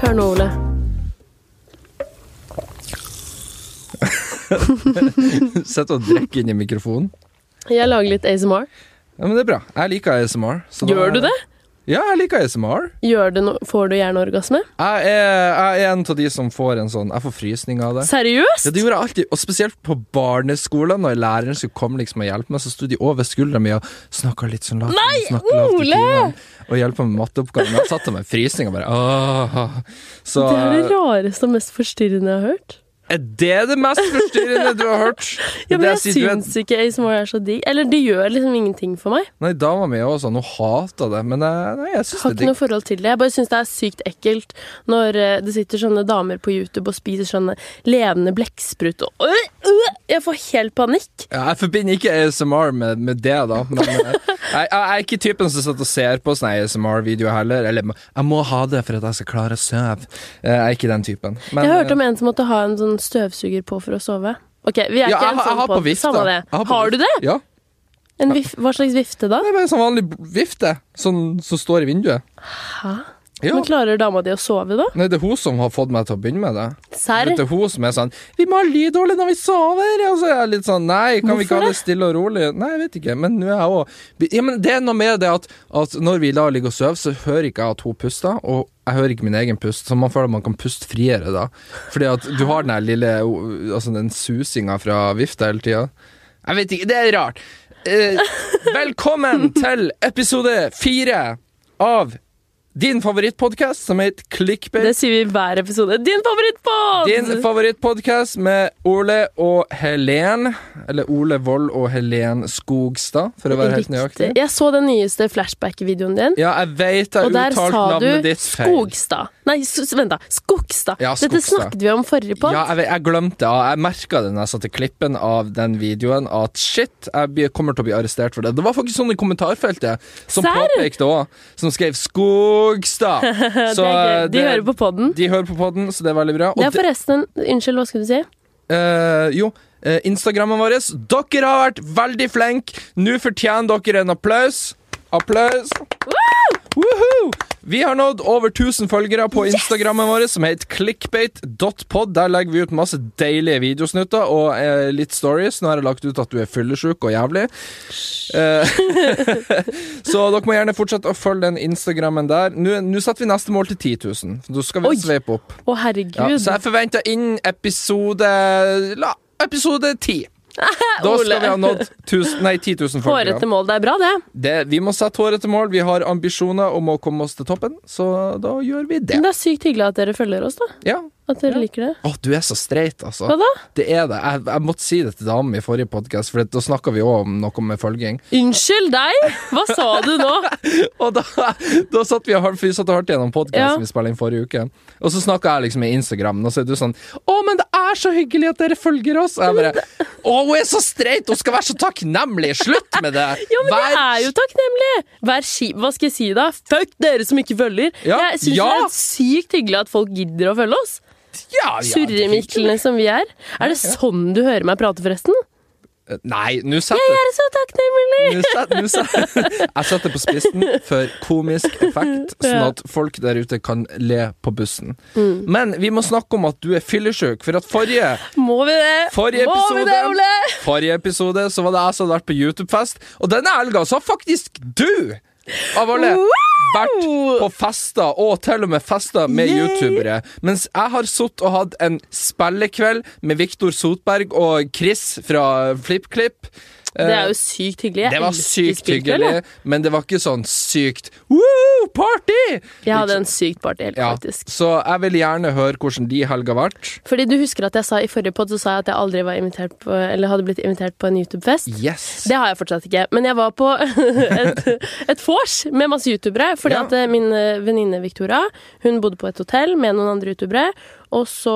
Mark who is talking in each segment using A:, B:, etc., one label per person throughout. A: her nå, Ole.
B: Sett og drekk inn i mikrofonen.
A: Jeg lager litt ASMR.
B: Ja, men det er bra. Jeg liker ASMR. så da-
A: Gjør du det?
B: Ja, jeg liker ASMR.
A: Gjør det no får du hjerneorgasme?
B: Jeg er, jeg er en av de som får en sånn Jeg får frysning av det. Ja,
A: Seriøst?
B: det gjorde jeg alltid, og spesielt på barneskolen, når læreren skulle komme liksom og hjelpe meg, så sto de over skuldra mi og snakka litt sånn lavt.
A: Nei,
B: snakket lavt i
A: Ole!
B: timene, Og hjelpa med matteoppgaven. Jeg satt der med frysning og bare åh. Så
A: Det er det rareste og mest forstyrrende jeg har hørt.
B: er det det mest forstyrrende du har hørt?
A: Ja, men
B: Det
A: jeg
B: sier du er-
A: syns ikke ASMR er så digg. Eller det gjør liksom ingenting for meg.
B: Nei, dama mi er også sånn, hun hater det, men eh, nei, jeg syns
A: Har
B: det
A: ikke
B: er digg.
A: noe forhold til det. Jeg bare syns det er sykt ekkelt når eh, det sitter sånne damer på YouTube og spiser sånne levende blekksprut og Øh, øh, Jeg får helt panikk.
B: Ja, jeg forbinder ikke ASMR med, med det, da. Men eh, jeg, jeg, jeg er ikke typen som sitter og ser på sånne ASMR-videoer heller. Eller jeg må ha det for at jeg skal klare å sove. Eh, Jeg er ikke den typen. Men, eh,
A: Jeg hørte om en som måtte ha en sånn støvsuger på for å sove. Ok, vi er
B: Ja,
A: ikke
B: jeg,
A: en
B: har- jeg
A: sånn
B: har på
A: podd.
B: vifte.
A: Samme det.
B: Jeg på
A: Har du
B: vifte.
A: det?
B: eh, Ja.
A: En vif Hva slags vifte da?
B: Det er bare en sånn vanlig vifte sånn, som står i vinduet.
A: Hæ?
B: Ja.
A: Men klarer dama di å sove da?
B: Nei, det er hun som har fått meg til å begynne med det.
A: Serr?
B: Det er hun som er sånn 'Vi må ha lydårlig når vi sover!' Og så er jeg litt sånn Nei, kan vi ikke
A: Hvorfor
B: ha det stille og rolig? Nei, jeg vet ikke. Men nå er jeg òg ja, men Det er noe med det at, at når vi da ligger og sover, så hører ikke jeg at hun puster, og jeg hører ikke min egen pust, så man føler at man kan puste friere da. Fordi at du har den der lille Altså den susinga fra vifta hele tida. Jeg vet ikke, det er rart. Eh, velkommen til episode fire av din favorittpodkast, som heter Clickbait
A: Det sier vi i hver episode. Din favorittpod!
B: din favorittpodkast med Ole og Helen. Eller Ole Wold og Helen Skogstad, for å være helt nøyaktig.
A: Jeg så den nyeste flashback-videoen din.
B: Ja, jeg veit jeg
A: Og der
B: uttalte
A: sa du
B: navnet ditt feil.
A: Skogstad. Nei, s- vent, da. Skogstad.
B: Ja,
A: Dette
B: Skogstad.
A: snakket vi om forrige podd.
B: Ja, jeg, vet- jeg glemte det. Jeg merka det når jeg satt i klippen av den videoen, at shit, jeg blir- kommer til å bli arrestert for det. Det var faktisk sånn i kommentarfeltet som
A: Serr?
B: påpekte òg, som skrev 'Skogstad'.
A: det er gøy. De hører på podden.
B: De hører på podden, så det er veldig bra. Og
A: Det er
B: det-
A: forresten Unnskyld, hva skulle du si?
B: Eh, jo, eh, Instagrammen vår. Dere har vært veldig flinke. Nå fortjener dere en applaus. Applaus. Woohoo! Vi har nådd over 1000 følgere på Instagrammen vår, som heter clickbait.pod. Der legger vi ut masse deilige videosnutter og eh, litt stories. Nå har jeg lagt ut at du er fyllesyk og jævlig. Eh, så dere må gjerne fortsette å følge den Instagrammen der. Nå nå setter vi neste mål til 10 000. Da skal
A: Oi.
B: vi sveipe opp.
A: Å, herregud.
B: Ja, så jeg forventer innen episode La, episode ti. Da skal
A: Ole.
B: vi ha nådd 1000 nei, 10 000
A: Hårete
B: følgere.
A: mål. Det er bra, det.
B: Det, vi må sette hårete mål. Vi har ambisjoner om å komme oss til toppen, så da gjør vi det.
A: Men det er sykt hyggelig at dere følger oss, da.
B: Ja.
A: At dere
B: Ja.
A: liker det.
B: Å, du er så streit, altså.
A: Hva da?
B: Det er det. Jeg, jeg måtte si det til damen i forrige podkast, for da snakka vi òg om noe med følging.
A: Unnskyld deg! Hva sa du nå?
B: Og da, da satt vi og hørte, vi satt og hørte gjennom
A: Ja.
B: podkasten vi spilte inn forrige uke. Og så snakka jeg liksom i Instagram, og så er du sånn 'Å, men det er så hyggelig at dere følger oss'. Og jeg bare 'Å, hun er så streit! Hun skal være så takknemlig! Slutt med det!'
A: Ja, men
B: Vær-
A: det er jo takknemlig! Vær ski... Hva skal jeg si, da? Fuck dere som ikke følger!
B: Ja,
A: Jeg syns
B: ja.
A: det er sykt hyggelig at folk gidder å følge oss.
B: ja, ja,
A: Surremiklene som vi er. Er det sånn du hører meg prate, forresten?
B: Eh, Nei, nå
A: Jeg
B: setter
A: er så takknemlig!
B: nå set- nå set- Jeg setter på spissen for komisk effekt, sånn
A: Ja. Mm.
B: at folk der ute kan le på bussen. Men vi må snakke om at du er fyllesyk, for at forrige
A: Må vi det?
B: Forrige
A: Må vi
B: episode,
A: det, Ole?
B: forrige episode så var det jeg som hadde vært på YouTube-fest, og denne helga så har faktisk du, av alle, vært på fester, og til og med fester med
A: Yay!
B: youtubere. Mens jeg har sittet og hatt en spillekveld med Viktor Sotberg og Chris fra FlippKlipp.
A: Det er jo sykt hyggelig. Jeg
B: Eh, Det var
A: elsker
B: sykt
A: spillkveld,
B: hyggelig,
A: jeg.
B: men det var ikke sånn sykt Woo, party!
A: Jeg hadde en sykt party, helt
B: Ja,
A: faktisk.
B: så jeg vil gjerne høre hvordan de helga ble.
A: Fordi du husker at jeg sa i forrige podd så sa jeg at jeg aldri var invitert på, eller hadde blitt invitert på en YouTube-fest.
B: Yes.
A: Det har jeg fortsatt ikke, men jeg var på et, et vors med masse youtubere. Fordi
B: Ja.
A: at eh, min eh, venninne Victoria hun bodde på et hotell med noen andre youtubere. Og så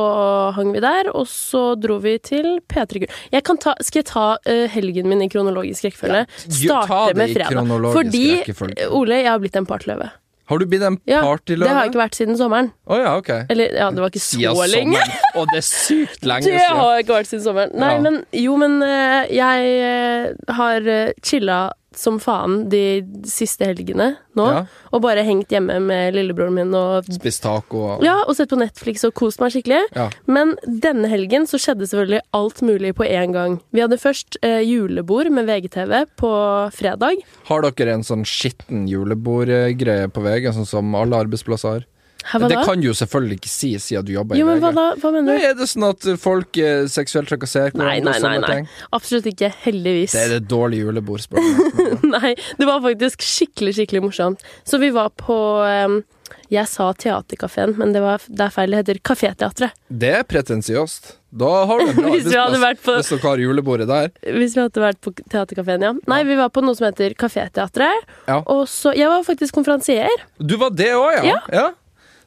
A: hang vi der, og så dro vi til P3 Gull. Jeg kan ta, skal jeg ta eh, helgen min i kronologisk rekkefølge?
B: Ja, ta
A: Starte
B: det
A: med
B: i
A: fredag.
B: kronologisk
A: Fordi,
B: rekkefølge.
A: eh, Ole, jeg har blitt en partyløve.
B: Har du blitt en
A: Ja, det
B: partyløve?
A: har jeg ikke vært siden sommeren.
B: Å ja, ok.
A: Eller, ja, det var ikke
B: siden
A: så lenge.
B: sommeren. Og det er sykt lenge
A: Det
B: siden.
A: har jeg ikke vært siden sommeren. Nei,
B: Ja.
A: men jo, men eh, jeg eh, har uh, chilla slitt som faen de siste helgene nå.
B: Ja.
A: Og bare hengt hjemme med lillebroren min og
B: Spist taco og
A: ja, og sett på Netflix og kost meg skikkelig.
B: Ja.
A: Men denne helgen så skjedde selvfølgelig alt mulig på én gang. Vi hadde først eh, julebord med VGTV på fredag.
B: Har dere en sånn skitten julebordgreie på VG, sånn som alle arbeidsplasser har?
A: Hæ, hva
B: det
A: da?
B: kan du jo selvfølgelig ikke si, siden du jobber
A: Jo,
B: i
A: men
B: VG.
A: hva da? Hva
B: Nei,
A: mener du?
B: er det sånn at folk eh, seksuelt trakasserer
A: Nei,
B: hverandre
A: nei,
B: og
A: nei.
B: sånne
A: nei.
B: ting?
A: Absolutt ikke. Heldigvis.
B: Det er det dårlige julebordspråket.
A: Nei, det var faktisk skikkelig, skikkelig morsomt. Så vi var på eh, Jeg sa Theatercaféen, men det, var, det er feil. Det heter Kaféteatret.
B: det er pretensiøst. Da har du en bra
A: Hvis vi hadde
B: arbeidsplass,
A: vært på
B: hvis dere har julebordet der.
A: Hvis vi hadde vært på Theatercaféen, ja. Nei, vi var på noe som heter Kaféteatret.
B: Ja.
A: Og så Jeg var faktisk konferansier.
B: Du var det òg, ja.
A: Ja.
B: ja?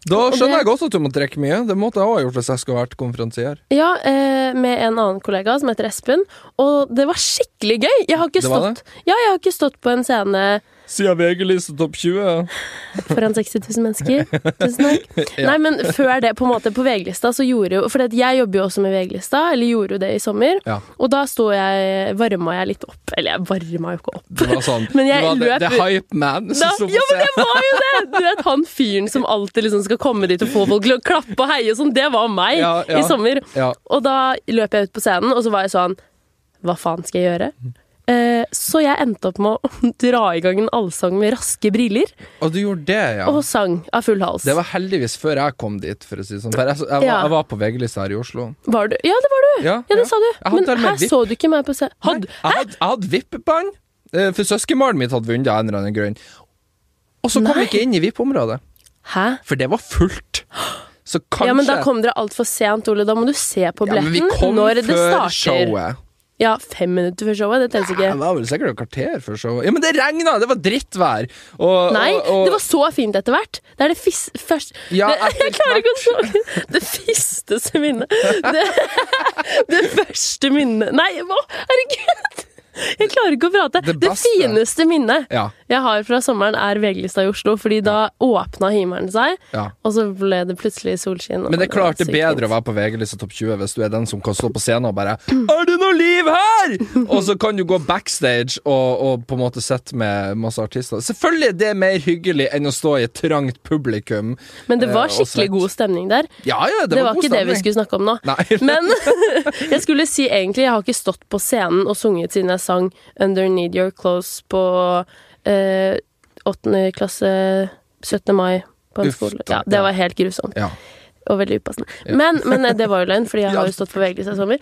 B: Da
A: Og
B: skjønner
A: det-
B: jeg godt at du må trekke mye. Det måtte jeg òg ha gjort hvis jeg skulle vært konferansier.
A: Ja, eh, med en annen kollega som heter Espen. Og det var skikkelig gøy! Jeg har ikke
B: Det var
A: stått, ja, jeg har ikke stått på en scene
B: Siden VG-lista topp 20.
A: foran 60 000 mennesker. Tusen takk.
B: Ja.
A: Nei, men før det, på en måte, på VG-lista, så gjorde jo For det at jeg jobber jo også med VG-lista, eller gjorde jo det i sommer.
B: Ja.
A: Og da sto jeg Varma jeg litt opp. Eller jeg varma jo ikke opp.
B: Det var sånn.
A: Men jeg
B: det var
A: løp-
B: det, det hype man
A: Da,
B: som sto
A: ja,
B: på
A: men
B: scenen.
A: jeg var jo det! Du vet han fyren som alltid liksom skal komme dit og få folk til å klappe og heie og sånn. Det var meg
B: Ja,
A: i
B: ja.
A: sommer.
B: Ja.
A: Og da løp jeg ut på scenen, og så var jeg sånn Hva faen skal jeg gjøre? Eh, så jeg endte opp med å dra i gang en allsang med raske briller,
B: Og du gjorde det, ja.
A: og sang av full hals.
B: Det var heldigvis før jeg kom dit, for å si det sånn. For jeg, jeg, var,
A: Ja.
B: jeg var på VG-lista her i Oslo.
A: Var du? Ja, det var du!
B: Ja,
A: Ja, det
B: ja.
A: sa du.
B: Jeg hadde
A: Men
B: til og med
A: her
B: vipp.
A: så du ikke meg på scenen. Hadde
B: Jeg hadde, jeg hadde vippebånd, eh, for søskenbarnet mitt hadde vunnet av en eller annen grunn. Og så kom
A: Nei.
B: vi ikke inn i VIP-området,
A: Hæ?
B: for det var fullt. Så kanskje
A: Ja, men da kom dere altfor sent, Ole. Da må du se på
B: Ja, men vi
A: billetten
B: kom
A: når det
B: før
A: starter.
B: showet.
A: Ja, fem minutter før showet. Det telles ikke.
B: Det var vel sikkert et kvarter før showet. Ja, men det regna! Det var drittvær. Og,
A: Nei,
B: og, og,
A: det var så fint etter hvert. Det er det fis... Først
B: Ja,
A: det,
B: etter
A: Jeg klarer ikke å snakke. Det fisteste minnet. Det, det første minnet Nei, hva? Herregud! Jeg klarer ikke å prate.
B: Det
A: Det,
B: beste.
A: fineste minnet
B: Ja.
A: jeg har fra sommeren, er VG-lista i Oslo. Fordi da åpna himmelen seg,
B: Ja.
A: og så ble det plutselig solskinn. og
B: Men det er
A: var
B: klart det er
A: sykt fint.
B: bedre å være på VG-lista topp 20 hvis du er den som kan stå på scenen og bare 'Er det noe liv her?!' Og så kan du gå backstage og, og på en måte sitte med masse artister. Selvfølgelig er det mer hyggelig enn å stå i et trangt publikum.
A: Men det
B: eh,
A: var
B: og
A: skikkelig
B: svett.
A: god stemning der.
B: Ja, ja, det,
A: Det var
B: god
A: ikke det vi
B: stemning.
A: skulle snakke om nå.
B: Nei.
A: Men jeg skulle si egentlig Jeg har ikke stått på scenen og sunget siden jeg sang Under Need Your Clothes på eh, 8. klasse 17. mai på en
B: Uff,
A: skole.
B: da.
A: Ja, det var helt grusomt
B: Ja.
A: og veldig upassende. Men, men eh, det var jo løgn, fordi jeg har jo stått på VG i sommer.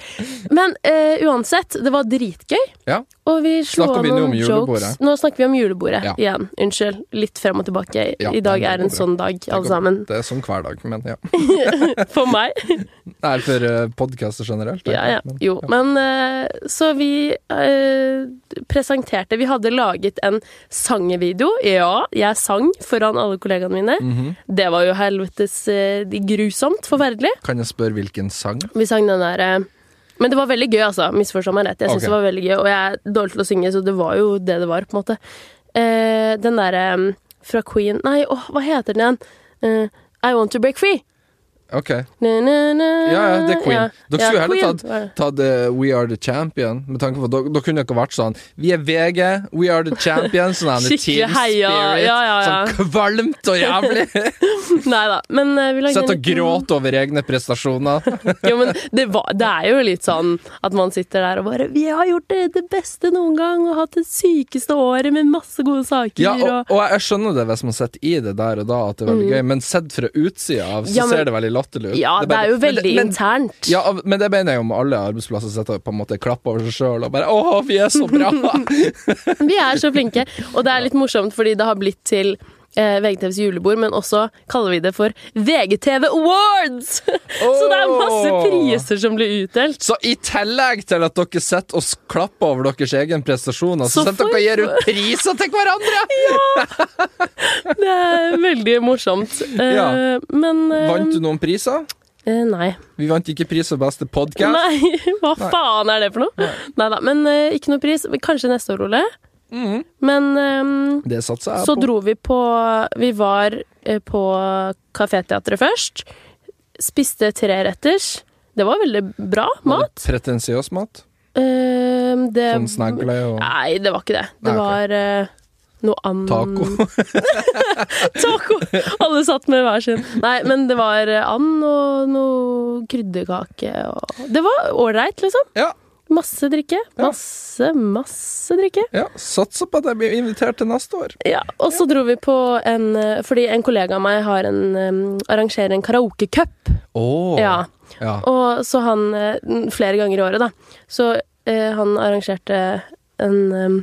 A: Men eh, uansett, det var dritgøy.
B: Ja.
A: Og vi slo
B: Snakker
A: av
B: vi nå om
A: noen jokes.
B: julebordet?
A: Nå snakker vi om julebordet
B: Ja.
A: igjen. Unnskyld. Litt frem og tilbake.
B: Ja,
A: I dag
B: nei, det
A: er en
B: går bra.
A: sånn dag,
B: går
A: alle sammen.
B: Det er sånn hver dag, men ja.
A: For meg.
B: Nei, for uh, podkaster generelt. tenker
A: Ja, ja.
B: jeg, men-
A: Jo, men eh, Så vi eh, presenterte Vi hadde laget en sangevideo. Ja, jeg sang foran alle kollegaene mine.
B: Mhm.
A: Det var jo helvetes eh, grusomt forferdelig.
B: Kan jeg spørre hvilken sang?
A: Vi sang den der eh, Men det var veldig gøy, altså. Misforstå meg rett. Jeg syns
B: Ok.
A: det var veldig gøy, og jeg er dårlig til å synge, så det var jo det det var, på en måte. Eh, den derre eh, fra Queen Nei, åh, hva heter den igjen? Eh, I Want To Break Free.
B: OK.
A: Na, na, na.
B: Ja, ja, det er Queen. Dere skulle heller
A: Queen
B: tatt-
A: var det.
B: tatt eh, We Are The Champion. Med tanke på, Da da kunne dere vært sånn Vi er VG, We Are The Champion. Sånn her
A: Skikkelig
B: Team
A: heia,
B: Spirit.
A: ja, ja, ja.
B: Sånn kvalmt og jævlig.
A: Nei da, men eh, vi lagde
B: Sett
A: en
B: og
A: liten-
B: gråte over egne prestasjoner.
A: Jo, men det, var, det er jo litt sånn at man sitter der og bare Vi har gjort det, det beste noen gang og hatt det sykeste året med masse gode saker.
B: Ja, og,
A: og,
B: og jeg skjønner det hvis man sitter i det der og da, at det er veldig gøy, men sett fra utsida av, så
A: Mm. Ja, men-
B: ser det veldig latterlig ut.
A: ja det,
B: bare-
A: er jo
B: men det-
A: veldig
B: men-
A: internt.
B: Ja, av- men det mener jeg om alle arbeidsplasser sitter og på en måte klapper over seg sjøl og bare 'Å, vi er så bra!'
A: Vi er så flinke. Og det er litt morsomt fordi det har blitt til eh, VGTVs julebord, men også kaller vi det for VGTV Awards! Så det er masse
B: Åh.
A: priser som blir utdelt.
B: Så i tillegg til at dere sitter og s- klapper over deres egen prestasjoner, så,
A: Så
B: sitter
A: får-
B: dere og gir ut priser til hverandre!
A: Det er veldig morsomt. Eh,
B: Ja.
A: Men eh,
B: Vant du noen priser?
A: eh, Nei.
B: Vi vant ikke pris for beste podkast.
A: Nei, hva faen er det for noe? Nei da, men eh, ikke noe pris. Men Kanskje neste år, Ole. Men ehm,
B: Det satser jeg
A: så
B: Mhm. på.
A: dro vi på Vi var eh, på Kaféteatret først. Spiste treretters. Det var veldig bra
B: Var det
A: mat.
B: Pretensiøs mat.
A: Ehm, det
B: Sånn snegle og
A: Nei, det var ikke det. Det
B: Nei, ok.
A: var eh, noe annet
B: taco.
A: Taco! Alle satt med hver sin. Nei, men det var eh, and og noe krydderkake og Det var ålreit, liksom.
B: ja,
A: Masse drikke.
B: Ja.
A: Masse, masse drikke.
B: ja. Satser på at jeg blir invitert til neste år.
A: Ja, og så dro vi på en eh, Fordi en kollega av meg har en, em, arrangerer en karaokecup.
B: Oh.
A: Ja.
B: ja.
A: Og så han eh, n- Flere ganger i året, da. Så eh, han arrangerte en em,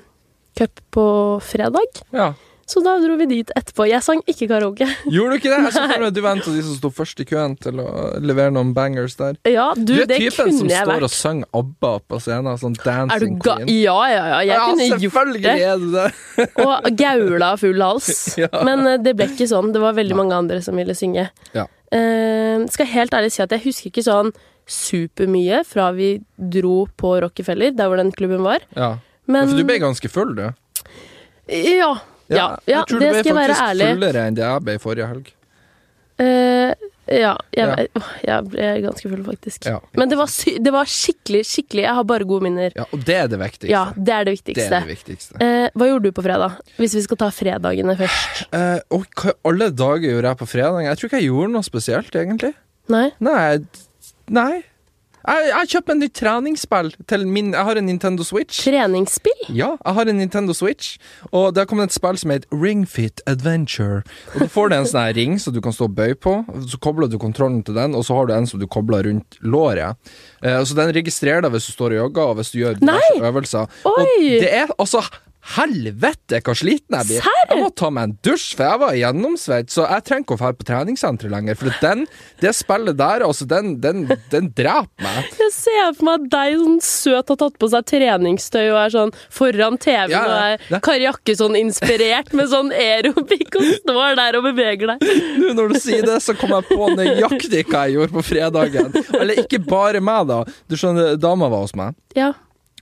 A: cup på fredag.
B: ja.
A: Så da dro vi dit etterpå. Jeg sang ikke karaoke.
B: Gjorde du ikke det? Jeg så for meg at du var en av de som sto først i køen til å levere noen bangers der.
A: Ja, du,
B: Du er
A: det
B: typen som
A: kunne jeg
B: står
A: vært.
B: og synger ABBA på scenen.
A: Er
B: Sånn
A: du
B: dancing
A: ga
B: queen.
A: ja, ja, ja. Jeg
B: ja,
A: kunne gjort
B: selvfølgelig
A: det.
B: er du det!
A: Og gaula full hals.
B: Ja.
A: Men eh, det ble ikke sånn. Det var veldig mange andre som ville synge.
B: Ja.
A: Eh, skal helt ærlig si at jeg husker ikke sånn supermye fra vi dro på Rockefeller, der hvor den klubben var.
B: Ja.
A: Men
B: For du ble ganske full, du.
A: Ja. Ja, ja
B: jeg tror
A: det
B: du ble
A: skal jeg være
B: faktisk
A: ærlig.
B: fullere enn det jeg ble forrige helg.
A: Eh, ja, jeg,
B: Ja.
A: åh, jeg ble ganske full, faktisk.
B: Ja.
A: Men det var, sy det var skikkelig, skikkelig Jeg har bare gode minner.
B: Ja, og det er det viktigste.
A: Ja, det er det
B: det
A: viktigste.
B: er det viktigste.
A: Eh, hva gjorde du på fredag? Hvis vi skal ta fredagene først.
B: Eh, og hva i alle dager gjorde jeg på fredag? Jeg tror ikke jeg gjorde noe spesielt, egentlig.
A: Nei?
B: Nei. Nei. Jeg, jeg kjøpte en ny treningsspill til min Jeg har en Nintendo Switch.
A: Treningsspill?
B: Ja, jeg har en Nintendo Switch, og det har kommet et spill som heter Ringfit Adventure. Og Da får du en sånn her ring som du kan stå og bøye på, så kobler du kontrollen til den, og så har du en som du kobler rundt låret. Eh, så den registrerer deg hvis du står og jogger, og hvis du gjør diverse
A: Nei!
B: øvelser. Og
A: Oi!
B: det er altså Helvete, hva sliten jeg blir!
A: Serr?
B: Jeg må ta meg en dusj, for jeg var gjennomsveitt, så jeg trenger ikke å dra på treningssenteret lenger. For den, det spillet der, altså, den, den, den dreper meg.
A: Jeg ser for meg deg sånn søt har tatt på seg treningstøy og er sånn foran TV-en
B: Ja, ja.
A: og er Kari Jakkesson inspirert med sånn aerobic og står der og beveger deg.
B: Nå når du sier det, så kom jeg på nøyaktig hva jeg gjorde på fredagen. Eller ikke bare meg, da. Du skjønner, dama var hos meg,
A: Ja.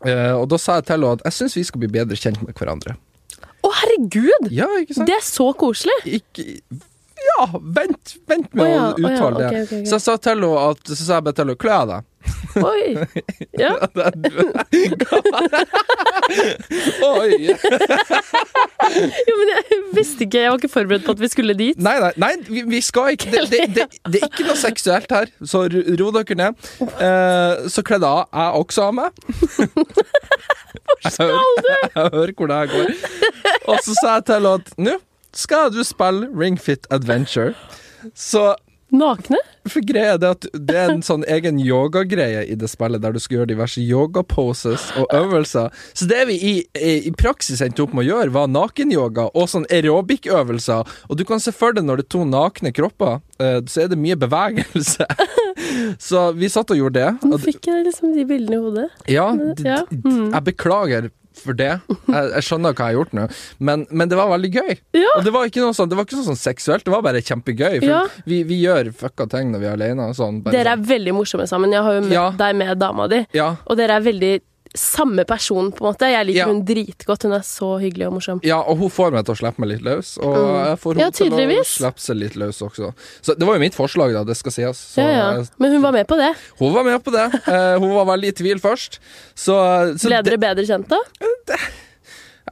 B: Eh, og da sa jeg til henne at jeg syns vi skal bli bedre kjent med hverandre.
A: Å, herregud!
B: Ja, ikke sant?
A: Det er så koselig!
B: Ikke Ja, vent, vent med
A: Å ja,
B: å
A: å ja,
B: uttale det.
A: ok, ok, ok.
B: Så jeg sa til henne at Så sa jeg bare til henne kle av deg.
A: Oi. Ja.
B: Oi!
A: Jo, men jeg visste ikke, jeg var ikke forberedt på at vi skulle dit.
B: Nei, nei, nei vi, vi skal ikke det, det, det, det er ikke noe seksuelt her, så ro ro dere ned. Eh, så kledde jeg av jeg også av meg. Hvor skal du? Jeg hører hvor det her går. Og så sa jeg til henne at nå skal du spille Ringfit Adventure. Så
A: Nakne?
B: for greia er det at det er en sånn egen yogagreie i det spillet, der du skal gjøre diverse yogaposes og øvelser. Så det vi i, i, i praksis endte opp med å gjøre, var nakenyoga og sånn aerobic-øvelser. Og du kan se for deg når det er to nakne kropper, eh, så er det mye bevegelse. Så vi satt og gjorde det.
A: Nå
B: Og,
A: fikk jeg liksom de bildene i hodet.
B: ja, d-
A: Ja,
B: d- jeg beklager for det. Jeg, jeg skjønner hva jeg har gjort nå, men, men det var veldig gøy.
A: Ja.
B: Og det var ikke noe sånn, det var ikke noe sånn seksuelt, det var bare kjempegøy. For
A: Ja.
B: vi, vi gjør fucka ting når vi er alene. og Sånn, bare
A: Dere er veldig morsomme sammen. Jeg har jo møtt
B: Ja.
A: deg med dama di.
B: sånn. Ja.
A: Og dere er veldig samme person, på en måte. Jeg liker
B: Ja.
A: hun dritgodt. Hun er så hyggelig og morsom.
B: Ja, og hun får meg til å slippe meg litt løs, og jeg får hun
A: Ja,
B: til å
A: tydeligvis.
B: slippe seg litt løs også. Så det var jo mitt forslag, da, det skal sies. Så,
A: Ja, ja. Men hun var med på det.
B: eh, Hun var med på det. Eh, hun var veldig i tvil først. Så, så
A: Ble
B: det-
A: dere bedre kjent da?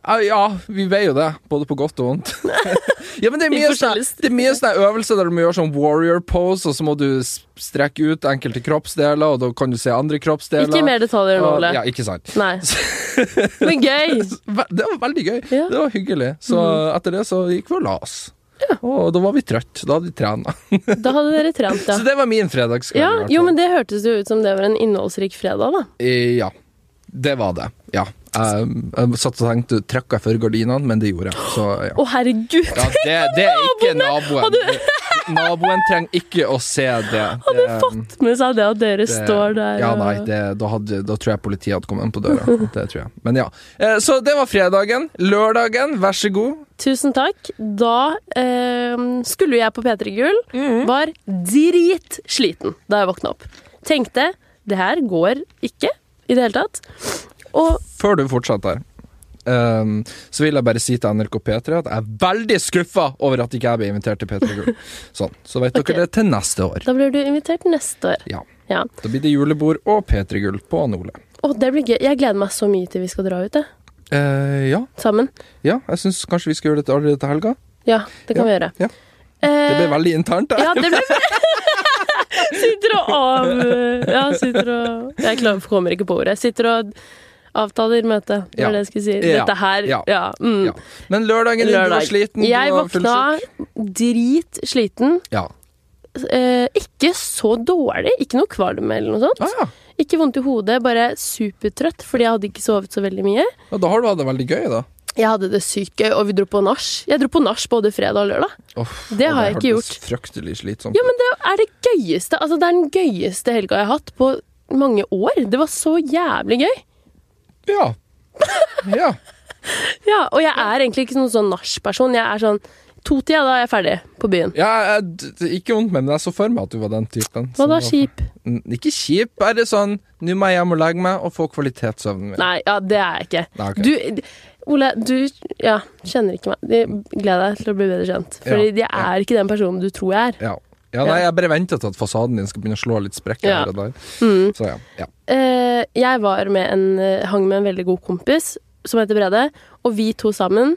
B: eh, Ja, vi ble jo det, både på godt og vondt. ja, men det er
A: I
B: mye
A: forskjellige
B: sånn- det er mye sånne øvelser der du må gjøre sånn warrior pose, og så må du s- strekke ut enkelte kroppsdeler, og da kan du se andre kroppsdeler.
A: Ikke mer detaljer nå,
B: Og-
A: Ole.
B: Ja, ikke sant.
A: Nei. Men gøy!
B: Ve- Det var veldig gøy.
A: Ja. Mm.
B: Det var hyggelig. Så etter det så gikk vi og la oss. Og da var vi trøtt Da hadde vi trena.
A: Da hadde dere trent,
B: Så
A: ja.
B: det var min fredagskveld.
A: ja
B: i hvert
A: jo,
B: fall.
A: men det hørtes jo ut som det var en innholdsrik fredag, da.
B: Eh, ja. Det var det. Ja. Jeg, jeg satt og tenkte trakk jeg for gardinene, men det gjorde jeg. Så ja.
A: Å, herregud!
B: ja det, det er ikke naboen.
A: Hadde-
B: Det- Naboen trenger ikke å se det. Hadde fått
A: Med seg det at dere står der
B: Ja,
A: og
B: nei, det, da, hadde, da tror jeg politiet hadde kommet inn på døra. Det tror jeg. Men ja. Eh, Så det var fredagen. Lørdagen, vær så god.
A: Tusen takk. Da ehm, skulle jeg på P3 Gull. Var dritsliten da jeg våkna opp. Tenkte det her går ikke i det hele tatt. Og
B: Før du fortsetter, ehm, så vil jeg bare si til NRK P3 at jeg er veldig skuffa over at ikke jeg ble invitert til P3 Gull. Sånn, så vet
A: Ok.
B: dere det til neste år.
A: da blir du invitert neste år.
B: Ja.
A: Ja.
B: Da blir det julebord og P3 Gull på Nole.
A: Å, det blir gøy. Jeg gleder meg så mye til vi skal dra ut, jeg.
B: Eh, ja.
A: Sammen.
B: ja, jeg syns kanskje vi skal gjøre dette allerede til helga.
A: Ja, det kan vi gjøre.
B: ja.
A: Eh,
B: Det ble veldig internt.
A: Ja,
B: Der.
A: det ble Sitter og av... Ja, sitter og Jeg klarer, kommer ikke på ordet. Sitter og avtaler møte. Det var
B: Ja.
A: det jeg skulle si.
B: Ja.
A: Dette her
B: Ja.
A: Ja. mm.
B: Ja. Men lørdagen din, du var
A: Lørdag.
B: sliten. du
A: Jeg
B: var
A: våkna
B: fullsjuk.
A: dritsliten.
B: Ja.
A: Eh, ikke så dårlig. Ikke noe kvalm eller noe sånt.
B: Ah, ja.
A: Ikke vondt i hodet, bare supertrøtt, fordi jeg hadde ikke sovet så veldig mye.
B: ja, da har du hatt det veldig gøy, da.
A: Jeg hadde det sykt gøy, og vi dro på nach. Jeg dro på nach både fredag og lørdag.
B: Uff,
A: Det har jeg ikke
B: hørtes Fryktelig slitsomt.
A: Ja, men det er det gøyeste Altså, det er den gøyeste helga jeg har hatt på mange år. Det var så jævlig gøy.
B: ut. Ja. ja.
A: Ja, og jeg er egentlig ikke noen sånn nachperson. Jeg er sånn to-tida, da er jeg ferdig på byen.
B: Ja, jeg, d- d- ikke vondt med, men jeg så for meg at du var den typen.
A: Hva
B: som
A: da,
B: var-
A: skip?
B: N- Ikke kjip, bare sånn Nå må jeg hjem og legge meg og få kvalitetssøvnen min.
A: Nei, ja, det er jeg ikke.
B: Nei, ok.
A: Du, Ole, du ja, kjenner ikke meg. Jeg Gleder deg til å bli bedre kjent. Fordi
B: Ja,
A: jeg er ikke den personen du tror jeg er.
B: Ja. ja, nei, jeg bare venter til at fasaden din skal begynne å slå litt sprekker
A: Ja.
B: her og der.
A: Mm.
B: Så ja. ja.
A: Eh, jeg var med en, eh, hang med en veldig god kompis som heter Brede, og vi to sammen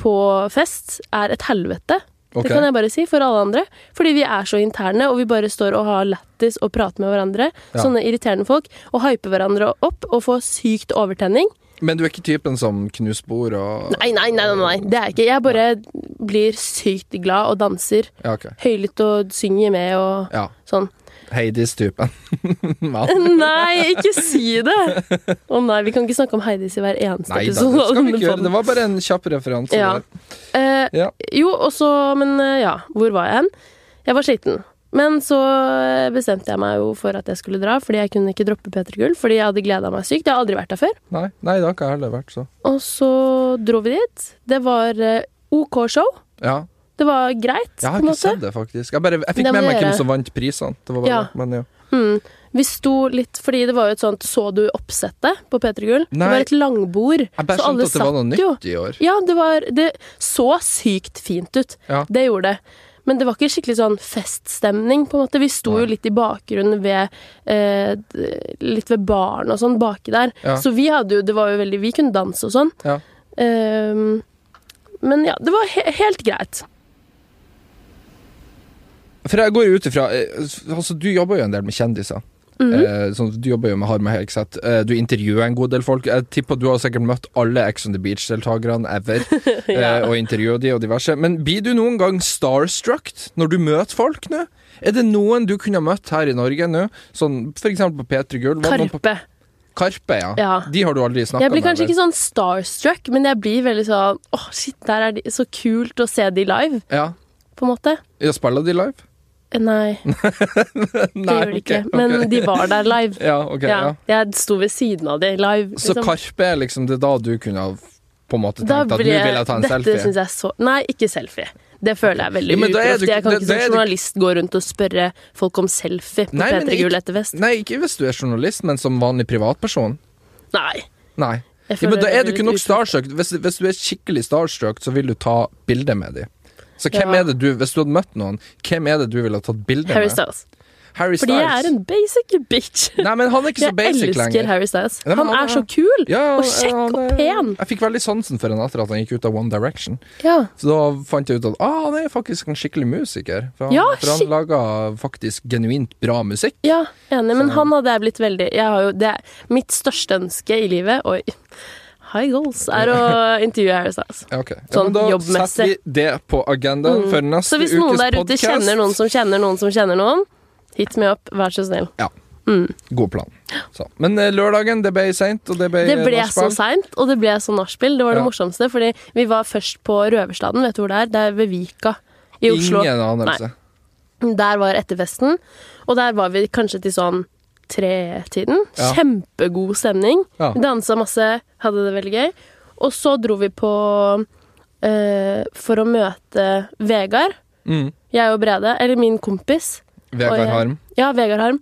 A: på fest er et helvete.
B: Ok.
A: Det kan jeg bare si for alle andre. Fordi vi er så interne, og vi bare står og har lættis og prater med hverandre.
B: Ja.
A: Sånne irriterende folk. Og hyper hverandre opp og får sykt overtenning.
B: Men du er ikke typen som knuser bord og
A: Nei, nei, nei, nei, nei. det er jeg ikke Jeg bare blir sykt glad og danser
B: Ja, ok.
A: høylytt og synger med og
B: Ja.
A: sånn.
B: Heidis-typen. Hva?
A: Nei, ikke si det! Å nei, vi kan ikke snakke om Heidis i hver eneste
B: Nei da, det
A: episode.
B: skal vi
A: av denne
B: ikke gjøre.
A: podden.
B: Det var bare en kjapp referanse.
A: Ja.
B: der.
A: Eh,
B: Ja.
A: Jo, og så Men eh, ja, hvor var jeg hen? Jeg var sliten. Men så eh, bestemte jeg meg jo for at jeg skulle dra, fordi jeg kunne ikke droppe P3 Gull. Fordi jeg hadde gleda meg sykt. Jeg har aldri vært der før.
B: Nei, nei, det har ikke jeg heller vært, så.
A: Og så dro vi dit. Det var eh, OK show.
B: Ja.
A: Det var greit,
B: Jeg
A: på
B: har
A: en
B: ikke
A: måte.
B: sett det, faktisk. Jeg, bare, jeg fikk
A: Det må
B: med meg
A: dere
B: hvem
A: gjøre.
B: som vant prisene. Det var bare
A: Ja.
B: det, men ja.
A: Mm. Vi sto litt Fordi det var jo et sånt Så du oppsettet på P3 Gull? Det
B: Nei.
A: var et langbord.
B: Jeg bare
A: så alle
B: skjønte at det var noe
A: satt
B: nytt
A: jo.
B: i år.
A: Ja, det var Det så sykt fint ut.
B: Ja.
A: Det gjorde det. Men det var ikke skikkelig sånn feststemning, på en måte. Vi sto
B: Nei.
A: jo litt i bakgrunnen ved eh, d- Litt ved baren og sånn baki der.
B: Ja.
A: Så vi hadde jo Det var jo veldig Vi kunne danse og sånn.
B: Ja.
A: Ehm, men ja, det var he helt greit.
B: For jeg går jo ut ifra eh, Altså, du jobber jo en del med kjendiser.
A: Mhm. Mm.
B: Eh, sånn, du jobber jo med Harme Hegseth. Eh, du intervjuer en god del folk. Jeg tipper du har sikkert møtt alle Ex on the Beach-deltakerne ever.
A: Ja.
B: eh, og intervjuer de og diverse. Men blir du noen gang starstruck når du møter folk nå? Er det noen du kunne ha møtt her i Norge nå? Sånn f.eks. på P3 Gull. Var det noen på
A: Karpe.
B: Karpe, ja.
A: Ja.
B: De har du aldri snakka med?
A: Jeg blir kanskje
B: vel?
A: ikke sånn starstruck, men jeg blir veldig sånn Åh, shit, der er de Så kult å se de live,
B: Ja.
A: på en måte.
B: Ja, Spiller de live?
A: Eh, Nei, det gjør de ikke.
B: ok, ok.
A: Men de var der live.
B: Ja, ok, ja.
A: Ja, jeg sto ved siden av de live.
B: Så
A: liksom.
B: Karpe er liksom det er da du kunne ha på en måte
A: Da
B: tenkt at nå
A: ble-
B: vil jeg ta en
A: dette
B: selfie?
A: synes jeg så Nei, ikke selfie. Det føler jeg er veldig
B: Ja, men da er
A: uproft.
B: du ikke-
A: Jeg kan
B: da-
A: ikke
B: da er
A: som
B: du-
A: journalist gå rundt og spørre folk om selfie på
B: Nei, men
A: P3 Gull
B: ikke-
A: etter fest.
B: Nei, ikke hvis du er journalist, men som vanlig privatperson.
A: Nei.
B: Nei.
A: jeg
B: Ja,
A: føler
B: men da
A: det
B: er du
A: blir
B: ikke
A: litt
B: nok
A: uproft.
B: starstruck. Hvis, hvis du er skikkelig starstruck, så vil du ta bilde med dem. Så hvem
A: Ja.
B: er det du, hvis du hadde møtt noen, hvem er det du ville ha tatt bilde
A: Harry
B: med?
A: Styles.
B: Harry
A: Fordi jeg er en basic bitch.
B: Nei, men han er ikke så
A: Jeg
B: basic
A: elsker
B: lenger.
A: Harry Styles.
B: Nei, men
A: Han
B: han
A: er
B: er-
A: så kul
B: Ja,
A: og kjekk
B: ja,
A: og
B: det-
A: pen.
B: Jeg fikk veldig sansen for han etter at han gikk ut av One Direction.
A: Ja.
B: Så da fant jeg ut at ah, han er faktisk en skikkelig musiker. For han,
A: Ja,
B: for han
A: skik-
B: laga faktisk genuint bra musikk.
A: Ja, enig, men
B: Så-
A: han hadde jeg blitt veldig jeg har jo, det, er- Mitt største ønske i livet Oi, high goals er å intervjue Harry Styles.
B: Ja, ok. Ja,
A: Sånn
B: men da
A: jobbmessig. Mm.
B: setter vi det på agendaen for neste
A: Så hvis
B: ukes
A: noen der ute
B: podcast.
A: kjenner noen som kjenner noen som kjenner noen, hit me up, vær så snill.
B: God plan. Så. Men eh, lørdagen, det ble seint, og det ble, eh,
A: Det ble så
B: nachspiel.
A: seint, og det ble så nachspiel. Det var det
B: Ja.
A: morsomste, fordi vi var først på Røverstaden, vet du hvor det er? Det er ved Vika i Oslo.
B: Ingen anelse.
A: Der var etterfesten, og der var vi kanskje til sånn tretiden.
B: Ja.
A: Kjempegod stemning.
B: Ja.
A: Vi Dansa masse, hadde det veldig gøy. Og så dro vi på eh, for å møte Vegard.
B: Mm.
A: Jeg og Brede, eller min kompis. Og
B: Vegard
A: jeg-
B: Harm.
A: Ja, Vegard Harm.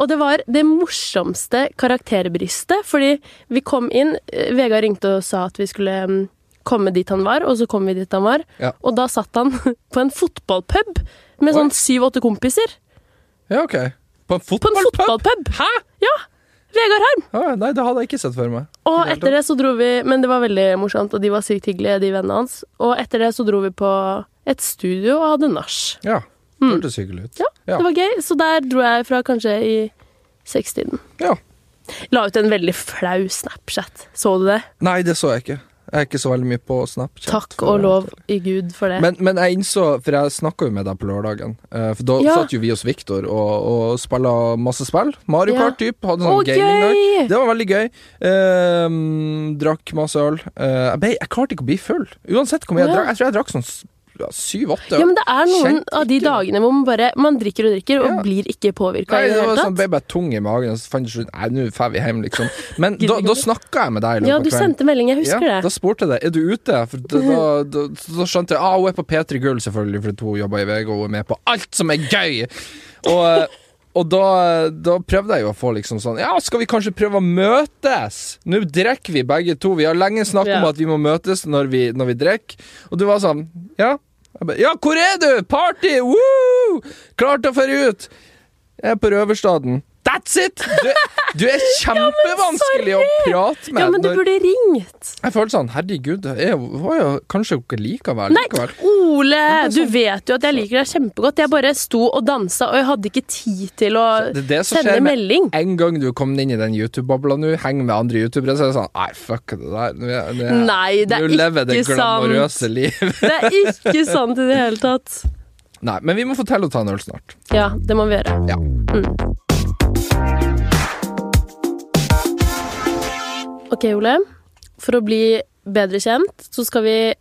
A: Og det var det morsomste karakterbristet, fordi vi kom inn eh, Vegard ringte og sa at vi skulle mm, komme dit han var, og så kom vi dit han var.
B: Ja.
A: Og da satt han på en fotballpub med
B: Oi.
A: sånn syv-åtte kompiser.
B: Ja, ok. På
A: På
B: en
A: en
B: fotballpub?
A: fotballpub! Hæ?! Ja! Vegard Harm!
B: Ah, nei, det hadde jeg ikke sett for meg.
A: Og
B: hele
A: etter det så dro vi Men det var veldig morsomt, og de var sykt hyggelige, de vennene hans. Og etter det så dro vi på et studio og hadde nach.
B: Ja,
A: Hmm.
B: det hørtes hyggelig ut.
A: Ja,
B: Ja.
A: det var gøy. Så der dro jeg fra kanskje i sekstiden.
B: Ja.
A: La ut en veldig flau Snapchat. Så du det?
B: Nei, det så jeg ikke. Jeg er ikke så veldig mye på Snapchat.
A: Takk og lov i Gud for det.
B: Men, men jeg innså, for jeg snakka jo med deg på lørdagen eh, For Da
A: Ja.
B: satt jo vi hos Viktor og, og spilla masse spill. Mario
A: Ja.
B: Kart typ, hadde
A: Å,
B: sånn gaming der.
A: gøy!
B: Det var veldig gøy. Ehm, drakk masse øl. Eh, jeg, ble, jeg klarte ikke å bli full. Uansett hvor mye jeg
A: Ja.
B: drakk. Jeg tror jeg drakk sånn s- ja, syv-åtte.
A: Ja, men det er noen
B: Kjent
A: av de
B: ikke.
A: dagene hvor man bare Man drikker og drikker og
B: Ja.
A: blir ikke påvirka i
B: Nei,
A: det
B: det
A: hele
B: var sånn,
A: tatt.
B: ble bare tung i magen, og så fant jeg slutt Nei, nå drar vi hjem, liksom. Men
A: Gidder
B: da,
A: ikke
B: da
A: mer.
B: snakka jeg med deg i løpet
A: Ja,
B: av
A: du
B: kvelden.
A: sendte melding, jeg husker
B: Ja, da
A: det.
B: spurte jeg deg Er du ute. For da, da, da, da skjønte jeg ah, hun er på P3 Gull, selvfølgelig, fordi hun jobber i VG og hun er med på alt som er gøy. Og, eh, og da, da prøvde jeg jo å få liksom sånn Ja, skal vi kanskje prøve å møtes? Nå drikker vi begge to. Vi har lenge snakket om
A: Ja.
B: at vi må møtes når vi, når vi drikker. Og du var sånn Ja. Jeg ba, ja, hvor er du? Party! Woo! Klart å ferde ut! Jeg er på Røverstaden. That's it! Du, du er kjempevanskelig å prate med.
A: Ja, men du
B: når-
A: burde ringt!
B: jeg følte sånn, herregud, jeg var jo kanskje ikke likevel.
A: Nei,
B: likevel.
A: Ole! Du vet jo at jeg liker deg kjempegodt. Jeg bare sto og dansa, og jeg hadde ikke tid til å
B: Det er det som
A: sende
B: skjer med
A: melding.
B: en gang du kom inn i den YouTube-babla nå, heng med andre youtubere, så er det sånn, nei, fuck det der. Nå er- nå er-
A: Nei, det
B: nå
A: er
B: lever det
A: ikke sant.
B: glamorøse liv.
A: Det er ikke sant i det hele tatt.
B: Nei, men vi må fortelle å ta en øl snart.
A: Ja, det må vi gjøre. Mm.
B: Ja.
A: Ok, Ole. For å bli bedre kjent, så skal vi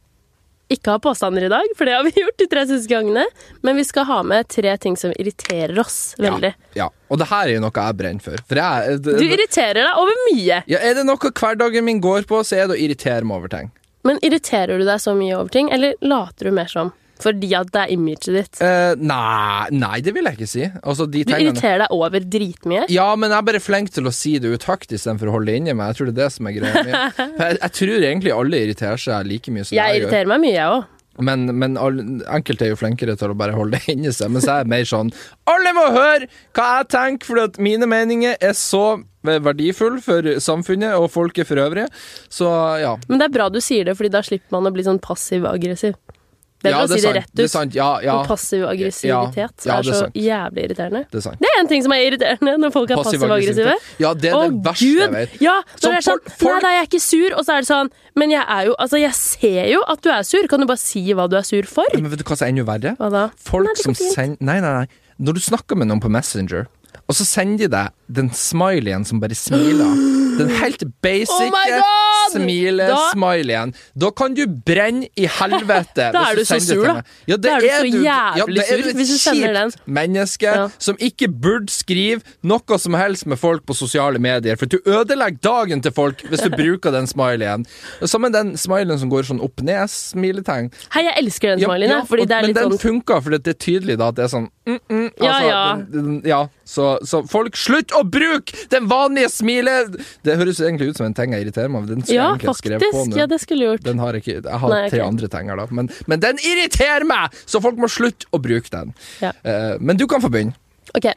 A: ikke ha påstander i dag, for det har vi gjort de tre siste gangene. Men vi skal ha med tre ting som irriterer oss veldig.
B: Ja, og det her er jo noe jeg brenner for. For jeg... eh,
A: Du
B: Det,
A: irriterer deg over mye,
B: ja, er det noe hverdagen min går på, så er det å irritere meg over ting.
A: men irriterer du deg så mye over ting, eller later du mer som? Fordi at det er imaget ditt.
B: Eh, nei, nei, det vil jeg ikke si. Altså, de
A: Du
B: tingene...
A: irriterer deg over dritmye.
B: Ja, men jeg er bare flink til å si det ut høyt istedenfor å holde det inni meg. Jeg tror det er det som er greia mi. For Jeg, jeg tror egentlig alle irriterer seg like mye som jeg,
A: Jeg irriterer meg mye, jeg òg.
B: gjør. Men, men all, enkelte er jo flinkere til å bare holde det inni seg. Mens jeg er mer sånn Alle må høre hva jeg tenker, for at mine meninger er så eh, verdifulle for samfunnet og folket for øvrig. Så ja.
A: Men det er bra du sier det, Fordi da slipper man å bli sånn passiv-aggressiv. Det er
B: ja,
A: bra å si det
B: sant,
A: rett ut.
B: er sant. Ja, ja.
A: Og Passiv aggressivitet er,
B: Ja, ja, det er
A: så
B: sant.
A: jævlig irriterende.
B: Det er sant.
A: Det er en ting som er irriterende når folk er passiv-aggressive.
B: Ja, det er
A: Å,
B: det verste jeg vet.
A: Ja, når
B: Som
A: det er sånn
B: folk- folk-
A: Nei, nei, jeg er ikke sur, og så er det sånn Men jeg er jo Altså, jeg ser jo at du er sur. Kan du bare si hva du er sur for?
B: Men vet du hva som er enda verre?
A: Hva da?
B: Folk
A: Nei, det går
B: som
A: fint.
B: sender Nei, nei, nei. Når du snakker med noen på Messenger, og så sender de deg den smileyen som bare smiler. Den helt
A: Oh
B: basic
A: my God! Da-
B: smile-smileyen. Da kan du brenne i helvete.
A: Da er du
B: hvis
A: så
B: sender
A: sur,
B: til
A: da.
B: meg. Ja, det
A: Da er du så
B: ja,
A: jævlig
B: da er
A: sur
B: et
A: hvis du sender
B: kjipt menneske
A: Ja.
B: som ikke burde skrive noe som helst med folk på sosiale medier, for du ødelegger dagen til folk hvis du bruker den smileyen. Sammen den smileyen som går sånn opp-ned-smiletegn.
A: Hei, jeg elsker den
B: Ja,
A: smileyen,
B: ja,
A: jeg, fordi
B: og-
A: det er
B: men
A: litt
B: den
A: sånn
B: funka, for det er tydelig da at det er sånn mm, mm,
A: Ja,
B: altså,
A: ja.
B: Den, den, ja. Så, så folk, slutt å bruke den vanlige smilet! Det høres jo egentlig ut som en ting jeg irriterer meg over. Den skulle
A: Ja,
B: jeg egentlig ha skrevet på
A: faktisk.
B: nå.
A: Ja, det skulle jeg gjort.
B: Den har jeg ikke, jeg har
A: Nei,
B: tre
A: ok.
B: andre tenger, da. Men, men den irriterer meg! Så folk må slutte å bruke den.
A: Ja.
B: Eh, men du kan få begynne.
A: Ok.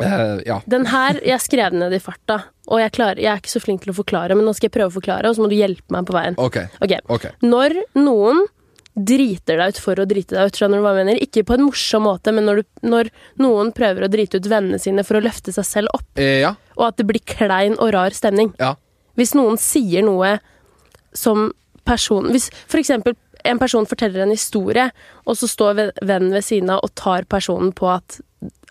B: Eh, ja.
A: Den her, jeg skrev den ned i farta, og jeg, klarer, jeg er ikke så flink til å forklare, men nå skal jeg prøve å forklare, og så må du hjelpe meg på veien.
B: OK.
A: Ok.
B: ok
A: Når noen driter deg ut for å drite deg ut, skjønner du hva jeg mener? Ikke på en morsom måte, men når, du, når noen prøver å drite ut vennene sine for å løfte seg selv opp,
B: Eh, ja.
A: og at det blir klein og rar stemning.
B: Ja.
A: Hvis noen sier noe som person Hvis for eksempel en person forteller en historie, og så står ve- vennen ved siden av og tar personen på at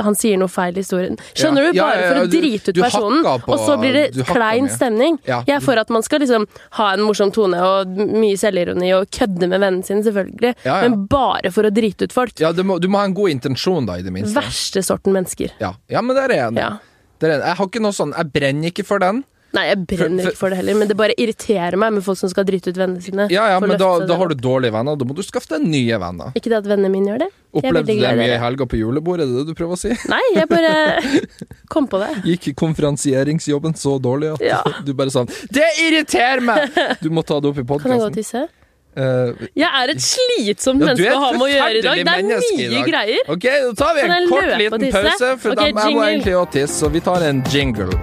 A: han sier noe feil i historien. Skjønner
B: Ja.
A: du?
B: Ja,
A: Bare
B: ja, ja,
A: for å
B: du-
A: drite ut
B: du
A: personen,
B: hakker på-
A: og så blir
B: du
A: det
B: hakker
A: klein
B: med.
A: stemning.
B: Ja.
A: Jeg er for at man skal liksom ha en morsom tone og mye selvironi og kødde med vennene sine, selvfølgelig,
B: Ja, ja.
A: men bare for å drite ut folk.
B: ja du, må, du må ha en god intensjon, da, i det minste.
A: Verste sorten mennesker.
B: Ja. ja, men der er jeg enig.
A: Ja.
B: Der er jeg enig. Jeg har ikke noe sånn Jeg brenner ikke for den.
A: Nei, jeg brenner
B: For-
A: ikke for det heller, men det bare irriterer meg med folk som skal drite ut vennene sine.
B: Ja, ja,
A: for å løfte
B: men da,
A: seg
B: da
A: selv
B: har
A: opp.
B: du dårlige venner. Da må du skaffe deg nye venner.
A: Ikke det at vennene mine gjør det. Jeg er veldig
B: Opplevde det
A: glad i
B: mye i
A: dere.
B: helga på julebordet, er det det du prøver å si?
A: Nei, jeg bare kom på det.
B: Gikk konferansieringsjobben så dårlig at
A: Ja.
B: du bare sa Det irriterer meg! Du må ta det opp i
A: Kan jeg gå og
B: podkasten.
A: tisse? Jeg er et slitsomt
B: Ja, du
A: menneske
B: er et
A: å ha med å gjøre i dag.
B: forferdelig
A: Det er
B: menneske i
A: mye
B: dag.
A: greier.
B: OK, da tar vi
A: Kan
B: en
A: jeg
B: kort
A: løpe og
B: liten
A: tisse?
B: pause, for
A: Ok,
B: da må jeg
A: jingle.
B: egentlig også tisse, så vi tar en jingle.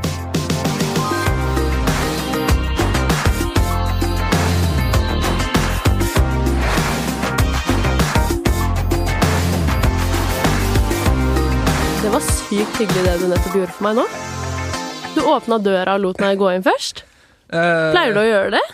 A: sykt hyggelig det du nettopp gjorde for meg nå. Du åpna døra og lot meg gå inn først.
B: Eh,
A: Pleier du å gjøre det?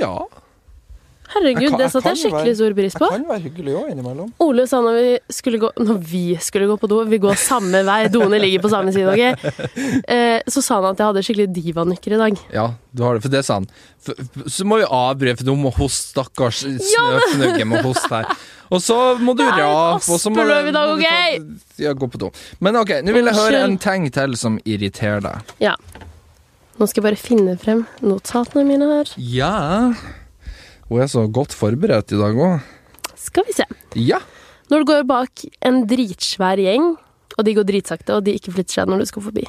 B: Ja. Jeg
A: Herregud,
B: kan-
A: det
B: jeg
A: satte jeg
B: kan være-
A: skikkelig stor pris
B: Jeg
A: på.
B: kan være hyggelig òg, innimellom.
A: Ole sa når vi skulle gå Når vi skulle gå på do Vi går samme vei, doene ligger på samme side, ok? Eh, så sa han at jeg hadde skikkelig divanykker i dag.
B: Ja, du har det, for det sa han. For, for- så må vi avbryte, for nå må hoste, stakkars snøfnugge må hoste her. Og så må du
A: er litt
B: rape, og så må
A: aspeløv i dag,
B: må du ta- Ja, gå på do. Men ok, nå vil jeg høre en
A: Unnskyld.
B: ting til som irriterer deg.
A: Ja. Nå skal jeg bare finne frem notatene mine her.
B: Ja Hun er så godt forberedt i dag òg.
A: Skal vi se.
B: Ja.
A: Når du går bak en dritsvær gjeng, og de går dritsakte, og de ikke flytter seg når du skal forbi.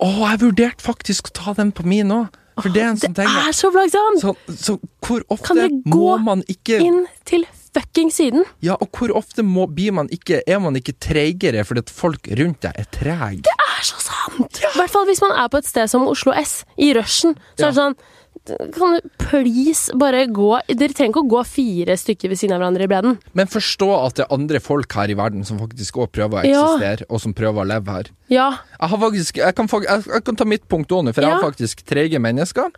B: Å, jeg vurderte faktisk å ta den på min òg, for det er en sånn
A: Det
B: ting.
A: er så plagsomt!
B: Så, så hvor
A: Kan dere
B: ofte må
A: gå
B: man ikke
A: Inn til fucking siden.
B: Ja, og hvor ofte må, blir man ikke Er man ikke treigere fordi at folk rundt deg er trege?
A: Det er så sant! I hvert fall hvis man er på et sted som Oslo S, i rushen. Så
B: Ja.
A: er det sånn Kan du please bare gå Dere trenger ikke å gå fire stykker ved siden av hverandre i bredden.
B: Men forstå at det er andre folk her i verden som faktisk også prøver å
A: Ja.
B: eksistere, og som prøver å leve her.
A: Ja.
B: Jeg, har faktisk, jeg, kan, fak- jeg, jeg kan ta mitt punkt òg nå, for jeg
A: Ja.
B: har faktisk treige mennesker.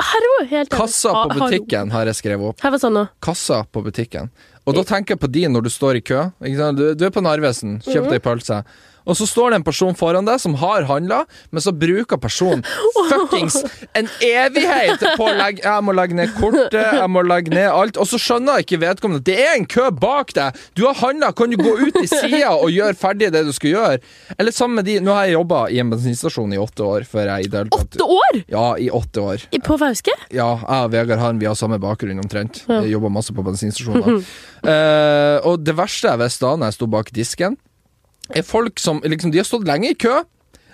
A: Hallo! Helt enig.
B: Kassa
A: Ha-
B: på
A: Ah, hallo.
B: butikken har jeg skrevet opp.
A: Her var sånn nå.
B: Kassa på butikken. Og da tenker jeg på de når du står i kø. Ikke sant? Du, du er på Narvesen, kjøp deg pølse. Og så står det en person foran deg som har handla, men så bruker personen fuckings en evighet på å legge Jeg må legge ned kortet, jeg må legge ned alt. Og så skjønner ikke vedkommende at det er en kø bak deg! Du har handla, kan du gå ut i sida og gjøre ferdig det du skal gjøre? Eller sammen med de Nå har jeg jobba i en bensinstasjon i åtte år før jeg i det hele tatt
A: Åtte år!
B: Ja, i åtte år.
A: I- På Fauske?
B: Ja, jeg og Vegard Harm vi har samme bakgrunn omtrent. Jeg jobber masse på bensinstasjoner. Eh, og det verste jeg visste da når jeg sto bak disken, er folk som liksom, De har stått lenge i kø,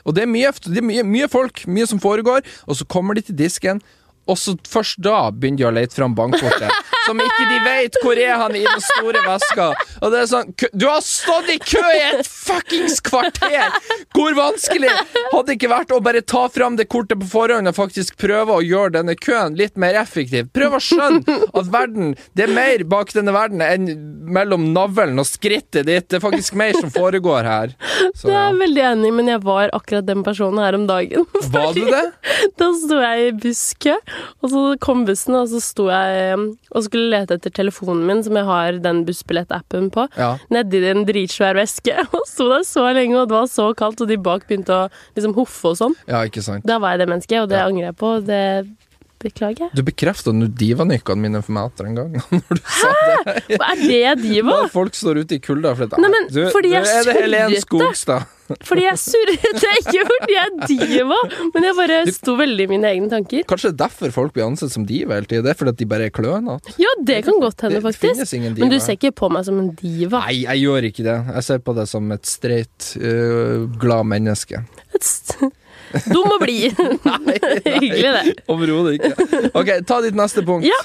B: og det er, mye, det er mye, mye folk, mye som foregår, og så kommer de til disken. Og så først da begynner de å lete fram bankkortet. Som ikke de vet hvor er han i den store veska. Og det er sånn kø- Du har stått i kø i et fuckings kvarter! Hvor vanskelig hadde det ikke vært å bare ta fram det kortet på forhånd og faktisk prøve å gjøre denne køen litt mer effektiv? Prøv å skjønne at verden Det er mer bak denne verden enn mellom navlen og skrittet ditt. Det er faktisk mer som foregår her. Så
A: Det
B: ja.
A: er jeg veldig enig, i, men jeg var akkurat den personen her om dagen.
B: Var du det?
A: Da sto jeg i busskø, og så kom bussen, og så sto jeg um, og skulle lete etter telefonen min, som jeg har den bussbillettappen på,
B: Ja.
A: nedi en dritsvær veske. Og sto der så lenge, og det var så kaldt, og de bak begynte å liksom hoffe og sånn.
B: Ja, ikke sant.
A: Da var jeg det mennesket, og det
B: Ja.
A: angrer jeg på, og det beklager jeg.
B: Du bekrefta nå divanykkene mine for meg atter en gang. Når du sa det.
A: Og er det diva?
B: Når folk står ute i kulda fordi,
A: Nei, men
B: du,
A: fordi
B: du,
A: jeg
B: er det Helen
A: surret det.
B: Skogstad.
A: Fordi jeg surret, det er ikke fordi jeg er diva, men jeg bare sto veldig i mine egne tanker.
B: Kanskje det er derfor folk blir ansett som diva hele tida. Det er fordi at de bare er klønete.
A: Ja, det kan godt hende,
B: Det
A: faktisk.
B: finnes ingen diva.
A: Men du ser ikke på meg som en diva.
B: Nei, jeg gjør ikke det. Jeg ser på det som et streit, øh, glad menneske.
A: Dum og blid. Hyggelig, det.
B: Overhodet ikke. Ok, ta ditt neste punkt.
A: Ja.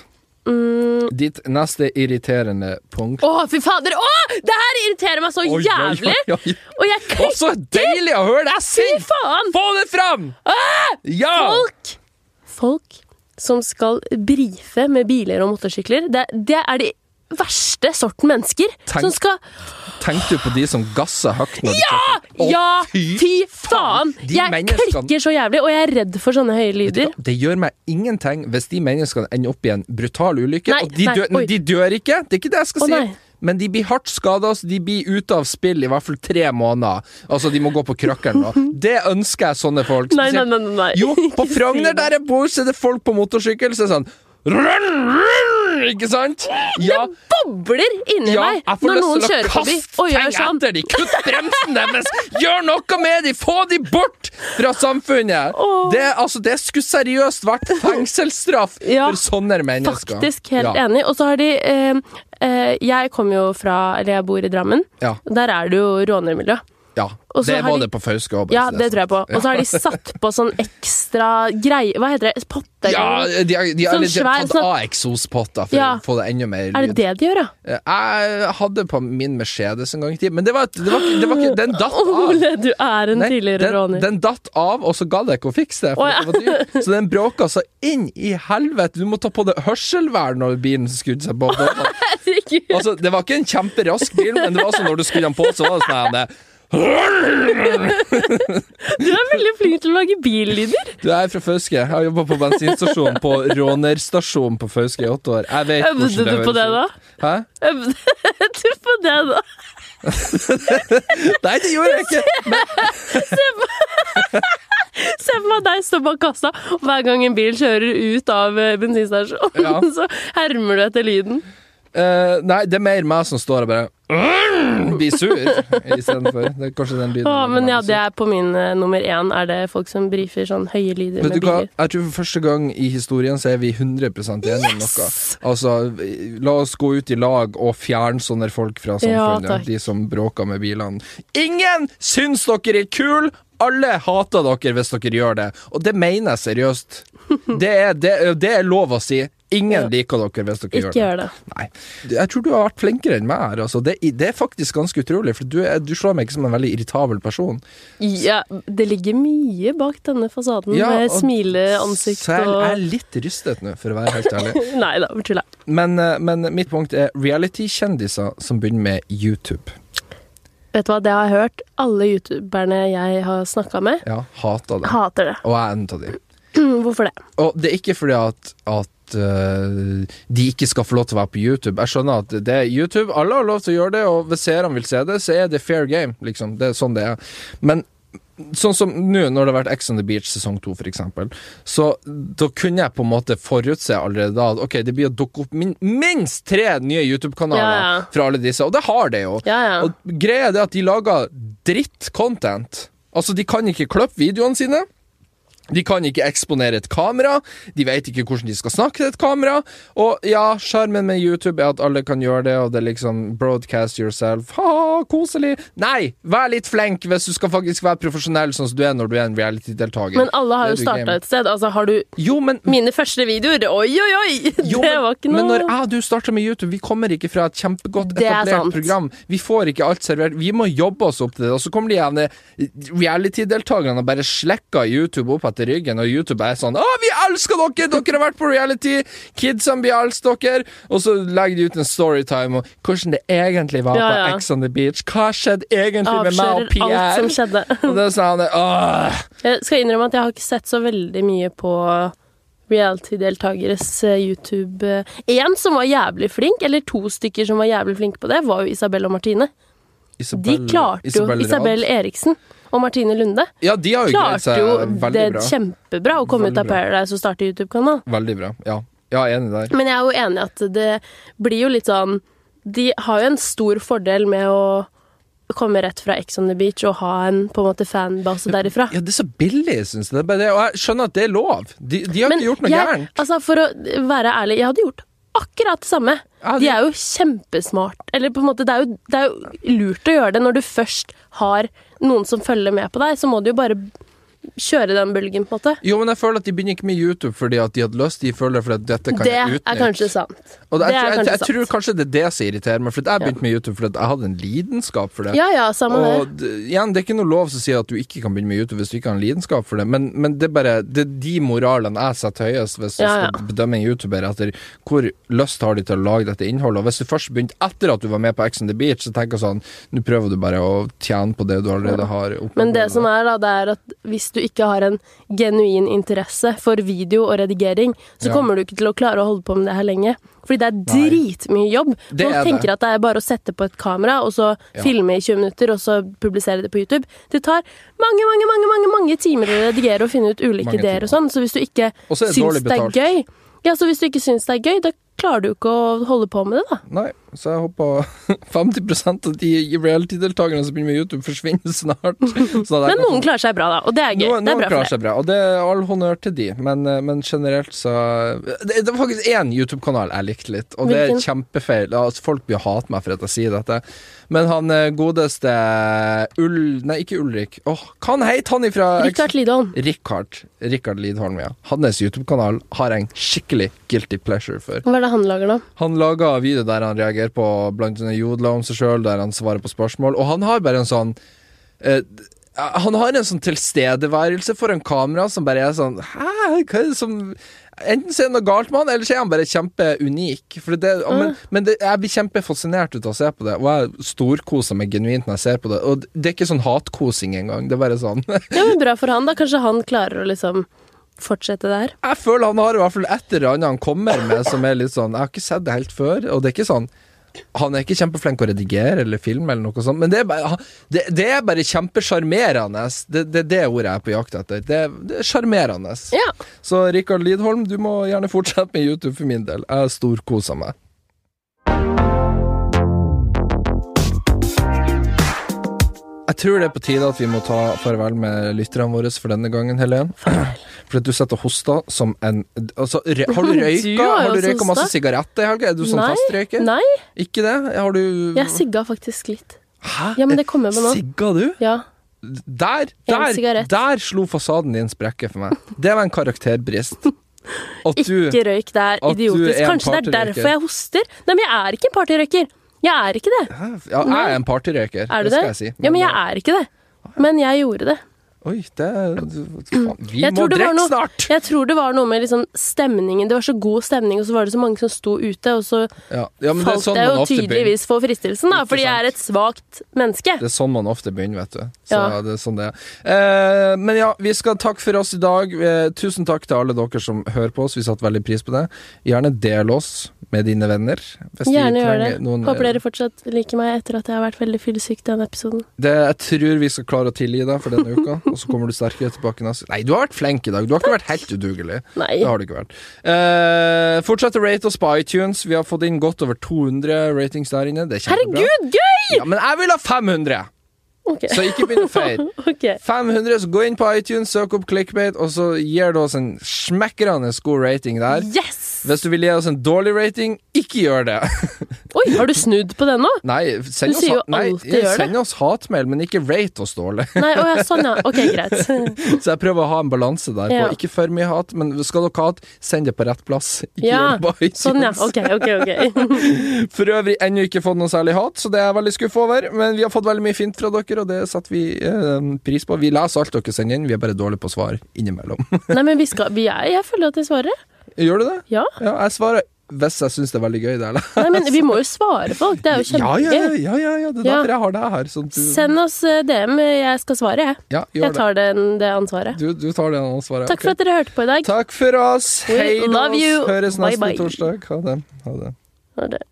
A: Mm.
B: Ditt neste irriterende punkt.
A: Å, fy fader! Å, det her irriterer meg så
B: Oi, oi,
A: jævlig!
B: oi, oi.
A: Og jeg
B: Å,
A: klikker
B: så deilig å høre deg synge!
A: faen! Ah!
B: Få det fram! Ja!
A: Folk Folk som skal brife med biler og motorsykler, det, det er de verste sorten mennesker
B: Tenk-
A: som skal
B: Tenkte du på de som gassa høyt når de kjørte? Å,
A: Ja,
B: fy
A: fy faen!
B: faen, de
A: Jeg
B: menneskene-
A: klikker så jævlig, og jeg er redd for sånne høye lyder.
B: Det gjør meg ingenting hvis de menneskene ender opp i en brutal ulykke.
A: Nei,
B: og de,
A: nei,
B: dør,
A: oi.
B: de dør ikke, det er ikke det jeg skal
A: Å,
B: si.
A: nei.
B: Men de blir hardt skada, så de blir ute av spill i hvert fall tre måneder. Altså, de må gå på krøkkelen nå. Det ønsker jeg sånne folk.
A: Nei, nei, nei.
B: spesielt-
A: nei, nei.
B: Jo, på
A: Ikke si
B: Frogner
A: det.
B: der jeg bor, så er det folk på motorsykkel som så er sånn run, run, Ikke sant? Ja,
A: Bobler inni
B: ja,
A: meg
B: jeg får
A: når noen
B: lyst til å
A: kjører forbi
B: kaste
A: og
B: ting
A: gjør sånn.
B: etter de Kutt bremsen deres! Gjør noe med de! Få de bort fra samfunnet!
A: Åh.
B: Det, altså, det skulle seriøst vært fengselsstraff
A: Ja,
B: for sånne mennesker.
A: Faktisk helt
B: ja.
A: enig. Og så har de eh, eh, Jeg kommer jo fra Eller jeg bor i Drammen.
B: Ja,
A: Der er det jo rånermiljø.
B: ja.
A: Og så
B: Det
A: har
B: var
A: de-
B: det på Fauske òg.
A: Ja, det tror jeg på. Og så har de satt på sånn ekstra greie Hva heter det? Potter?
B: Ja, de,
A: Sånn
B: de, de, eller de har
A: svær,
B: tatt
A: sånn-
B: av eksospotter for
A: Ja.
B: å få det enda mer
A: Er det
B: lyd.
A: det de gjør, ja?
B: Jeg hadde på min Mercedes en gang i tiden, men det var, det var, ikke- det var ikke Den datt av.
A: Ole, du er en
B: Nei,
A: tidligere
B: den,
A: råner.
B: den datt av, og så gadd jeg ikke å fikse det. For
A: Å, ja.
B: det var dyrt. Så den bråka så inn i helvete. Du må ta på deg hørselvern når bilen skrudde seg på. Det var sånn-
A: Herregud.
B: Altså, det var ikke en kjemperask bil, men det var sånn når du skrudde den på, så var det sånn her, det
A: Du er veldig flink til å lage billyder.
B: Du er fra Fauske. Jeg har jobba på bensinstasjon på rånerstasjon på Fauske i åtte år. Jeg vet hvordan
A: Øvde du på det,
B: høres
A: da?
B: ut. Hæ?
A: Øvde du på det, da?
B: Nei, det gjorde jeg ikke!
A: Se for meg deg stå bak kassa, og hver gang en bil kjører ut av eh, bensinstasjonen,
B: Ja.
A: så hermer du etter lyden.
B: Eh, nei, det er mer meg som står og bare blir sur istedenfor. Det er kanskje den lyden.
A: Å, men ja,
B: Blir sur.
A: det er på min eh, nummer én, er det folk som briefer sånn høye lyder
B: Vet
A: med
B: du hva?
A: biler.
B: Jeg tror for første gang i historien så er vi 100 enige om noe. Altså, la oss gå ut i lag og fjerne sånne folk fra
A: Ja,
B: samfunnet.
A: takk.
B: de som bråker med bilene. Ingen syns dere er kule! Alle hater dere hvis dere gjør det, og det mener jeg seriøst. Det er, det, er- det er lov å si. Ingen liker dere hvis dere
A: Ikke gjør det.
B: Nei. Jeg tror du har vært flinkere enn meg her. Altså. Det, det er faktisk ganske utrolig, for du, er, du slår meg ikke som en veldig irritabel person.
A: Ja, det ligger mye bak denne fasaden
B: Ja,
A: med
B: og
A: smileansikt
B: Selv
A: og
B: er jeg litt rystet nå, for å være helt ærlig.
A: Nei da, bare tuller.
B: Men, eh, men mitt punkt er reality-kjendiser som begynner med YouTube.
A: Vet du hva, det har jeg hørt. Alle youtuberne jeg har snakka med,
B: Ja, hater det.
A: hater det.
B: Og jeg er en av de.
A: Hvorfor det?
B: Og det er ikke fordi at, at eh, de ikke skal få lov til å være på YouTube. Jeg skjønner at det er YouTube, alle har lov til å gjøre det, og hvis seerne vil se det, så er det fair game, liksom. Det er sånn det er. Men sånn som nå, når det har vært Ex on the Beach sesong to, for eksempel, så da kunne jeg på en måte forutse allerede da at ok, det blir å dukke opp min, minst tre nye YouTube-kanaler
A: Ja, ja.
B: fra alle disse, og det har det jo.
A: Ja, ja.
B: Og greia er det at de lager dritt-content. Altså, de kan ikke kløppe videoene sine. De kan ikke eksponere et kamera. De vet ikke hvordan de skal snakke til et kamera. Og ja, sjarmen med YouTube er at alle kan gjøre det, og det er liksom broadcast yourself. Ha, koselig. Nei, vær litt flink hvis du skal faktisk være profesjonell, sånn som du er når du er en reality-deltaker.
A: Men alle har jo
B: Det er du
A: starta
B: gamer.
A: et sted. Altså, har du
B: Jo, men
A: mine første videoer? Oi, oi, oi!
B: jo,
A: det
B: men-
A: var ikke noe
B: Men når jeg og du starter med YouTube, vi kommer ikke fra et kjempegodt
A: Det er
B: etablert
A: sant.
B: program. Vi får ikke alt servert. Vi må jobbe oss opp til det. Og så kommer de gjerne reality-deltakerne og bare slekker YouTube opp etter ryggen, og YouTube er sånn 'Å, vi elsker dere! Dere har vært på reality! Kidsene blir elsker dere!' Og så legger de ut en storytime om hvordan det egentlig var
A: Ja,
B: på
A: ja.
B: Ex on the Beach. Hva skjedde egentlig med meg og
A: avslører alt som
B: Pierre?
A: skjedde.
B: Og det er sånn Åh!
A: Jeg skal innrømme at jeg har ikke sett så veldig mye på reality-deltakeres eh, YouTube. Én som var jævlig flink, eller to stykker som var jævlig flinke på det, var jo Isabel og Martine. De
B: Isabel-
A: klarte jo
B: Rad.
A: Isabel Eriksen og Martine Lunde.
B: Ja, de har jo greid
A: Klarte
B: seg
A: jo det
B: veldig bra.
A: kjempebra å komme
B: Veldig
A: ut av
B: bra.
A: Paradise og starte YouTube-kanal.
B: Veldig bra. Ja, ja jeg er enig der.
A: Men jeg er jo enig i at det blir jo litt sånn De har jo en stor fordel med å komme rett fra Ex on the Beach og ha en på en måte fanbase derifra.
B: Ja, det er så billig, syns jeg. Det er bare det. Og jeg skjønner at det er lov. De, de har ikke gjort noe
A: jeg,
B: gærent.
A: Altså, for å være ærlig, jeg hadde gjort akkurat det samme.
B: Ja,
A: De
B: det-
A: er jo kjempesmart. Eller på en måte, det er, jo, det er jo lurt å gjøre det når du først har noen som følger med på deg. Så må du jo bare kjøre den bølgen, på en måte.
B: Jo, men jeg føler at de begynner ikke med YouTube fordi at de hadde lyst. De føler fordi at dette kan
A: Det
B: jeg
A: er
B: utnytte.
A: kanskje sant.
B: Og
A: det
B: jeg,
A: er
B: tror- jeg,
A: kanskje
B: jeg,
A: sant.
B: tror kanskje det er det som irriterer meg, for at jeg begynte med YouTube fordi at jeg hadde en lidenskap for det.
A: Ja ja, samme det.
B: Og d- igjen, det er ikke noe lov som sier at du ikke kan begynne med YouTube hvis du ikke har en lidenskap for det, men, men det er bare det er de moralene jeg setter høyest hvis du
A: Ja, ja.
B: skal bedømme en YouTuber etter hvor lyst har de til å lage dette innholdet. Og hvis du først begynte etter at du var med på Ex on the Beach, så tenker jeg sånn Nå prøver du bare å tjene på det du allerede har oppnådd.
A: Men det som er da, det er at hvis du ikke har en genuin interesse for video og redigering, så
B: Ja.
A: kommer du ikke til å klare å holde på med det her lenge. Fordi det er
B: Nei.
A: dritmye jobb.
B: Det
A: Folk
B: er det.
A: tenker at det er bare å sette på et kamera, og så
B: Ja.
A: filme i 20 minutter, og så publisere det på YouTube. Det tar mange, mange, mange, mange, mange timer å redigere og finne ut ulike
B: Mange
A: ideer og sånn, så hvis du ikke
B: Og så er det
A: syns
B: dårlig
A: det er
B: betalt.
A: gøy Ja, så hvis du ikke syns det er gøy, da klarer du ikke å holde på med det, da.
B: Nei, så jeg håper 50 av de reality-deltakerne som begynner med YouTube, forsvinner snart. Så at jeg
A: Men
B: kan
A: noen klarer seg bra, da, og det er gøy.
B: Noen,
A: det er
B: noen
A: bra
B: klarer
A: for det.
B: seg bra, og det er all honnør til de, men, eh, men generelt så Det det var faktisk én YouTube-kanal jeg likte litt, og det er
A: Hvilken?
B: kjempefeil. Altså, folk blir hate meg for at jeg sier dette, men han eh, godeste Ull... Nei, ikke Ulrik. Åh, hva han het han ifra
A: Rikard Lidholm.
B: Rikard. Rikard Lidholm, ja. Hans YouTube-kanal har jeg en skikkelig guilty pleasure for.
A: Hva er det han lager, da?
B: Han laga video der han reagerer på blant annet jodler om seg sjøl, der han svarer på spørsmål, og han har bare en sånn eh, han har en sånn tilstedeværelse foran kamera som bare er sånn Hæ, hva er det som Enten så er det noe galt med han, eller så er han bare kjempeunik. For det, men men det, jeg blir kjempefascinert ut av å se på det, og jeg storkoser meg genuint når jeg ser på det. Og det er ikke sånn hatkosing engang. Det er bare sånn
A: Ja, men bra for han, da. Kanskje han klarer å liksom fortsette der.
B: Jeg føler han har i hvert fall et eller annet han kommer med som er litt sånn Jeg har ikke sett det helt før, og det er ikke sånn han er ikke kjempeflink å redigere eller filme, eller noe sånt, men det er bare, han- det, det er bare kjempesjarmerende. Det, det er det ordet jeg er på jakt etter. Det, det er sjarmerende.
A: Ja.
B: Så Rikard Lidholm, du må gjerne fortsette med YouTube for min del. Jeg storkoser meg. Jeg tror det er på tide at vi må ta farvel med lytterne våre for denne gangen, Helen. For at du sitter og hoster som en altså, rø- Har du
A: Du har jo
B: røyka, har du
A: også
B: røyka masse
A: hosta.
B: sigaretter i helga? Er du sånn
A: Nei,
B: fastrøyker?
A: Nei,
B: Ikke det? Har du
A: jeg sigga faktisk litt.
B: Hæ?
A: Ja, men det kommer med nå.
B: Sigga du?
A: Ja.
B: Der,
A: En
B: der,
A: sigarett.
B: der slo fasaden din sprekker for meg. Det var en karakterbrist. At du
A: Ikke røyk, det er
B: at du
A: idiotisk.
B: er en
A: Kanskje det er
B: partyrøyker.
A: derfor jeg hoster. Nei, men jeg er ikke en partyrøyker. Jeg er ikke det.
B: Hæ? Ja, jeg er en partyrøyker,
A: Er du
B: det
A: det?
B: skal jeg si. eh,
A: ja, men jeg er ikke det. Men jeg gjorde det.
B: Oi, det er- faen, Vi
A: Jeg
B: må
A: tror det var
B: drikke
A: noe-
B: snart!
A: Jeg tror det var noe med liksom stemningen. Det var så god stemning, og så var det så mange som sto ute. Og så
B: Ja, ja, men det er
A: falt
B: sånn
A: jeg
B: man
A: jo
B: ofte begynner.
A: tydeligvis for fristelsen, da,
B: Ikke
A: fordi jeg
B: sant.
A: er et svakt menneske.
B: Det er sånn man ofte begynner, vet du. Så
A: Ja.
B: det er sånn det er. Eh, men ja, vi skal takke for oss i dag. Eh, tusen takk til alle dere som hører på oss. Vi satte veldig pris på det. Gjerne del oss med dine venner. Hvis
A: Gjerne
B: vi
A: gjør det.
B: trenger noen-
A: Håper dere fortsatt liker meg etter at jeg har vært veldig fyllesyk denne episoden.
B: Det, jeg tror vi skal klare å tilgi deg for denne uka, og så kommer du sterkere tilbake neste Nei, du har vært flink i dag. Du har ikke vært helt udugelig.
A: Nei.
B: Det har du ikke vært. Eh, fortsett å rate oss på iTunes. Vi har fått inn godt over 200 ratings der inne. Det er kjempebra.
A: Herregud, gøy!
B: Ja, men jeg vil ha 500!
A: Ok.
B: Så ikke begynn å feire.
A: Ok.
B: 500, så gå inn på iTunes, søk opp clickbait, og så gir du oss en smekkerende god rating der.
A: Yes!
B: Hvis du vil gi oss en dårlig rating, ikke gjør det.
A: Oi, har du snudd på den nå?
B: Nei, send
A: Du
B: oss,
A: sier jo
B: ha- nei,
A: alltid gjør
B: send oss hatmail, men ikke rate oss dårlig.
A: Nei, å ja, sånn ja. Ok, greit.
B: Så jeg prøver å ha en balanse der.
A: Ja.
B: På. Ikke for mye hat, men skal dere ha hat, send det på rett plass. Ikke
A: Ja,
B: gjør det på iTunes.
A: Sånn ja. Ok, ok, ok.
B: For øvrig ennå ikke fått noe særlig hat, så det er jeg veldig skuffa over. Men vi har fått veldig mye fint fra dere, og det setter vi eh, pris på. Vi leser alt dere sender inn, vi er bare dårlige på å svare innimellom.
A: Nei, men vi skal vi er, Jeg føler at jeg svarer.
B: gjør du det?
A: Ja.
B: Ja, jeg svarer hvis jeg syns det er veldig gøy. Det, eller?
A: Nei, men vi må jo svare folk. Det er jo
B: Ja, ja,
A: kjempegøy.
B: ja, ja, ja, det er
A: Ja.
B: derfor jeg har deg her. Sånn, at du,
A: Send oss eh, DM. Jeg skal svare, jeg.
B: ja, gjør
A: Jeg tar den, det ansvaret.
B: det. Du, du tar det ansvaret.
A: Takk for
B: ok.
A: at dere hørte på i dag.
B: Takk for oss.
A: We
B: Hei
A: love
B: oss.
A: you.
B: Høres
A: Bye,
B: neste
A: bye.
B: torsdag. Ha det. Ha det.
A: Ha det.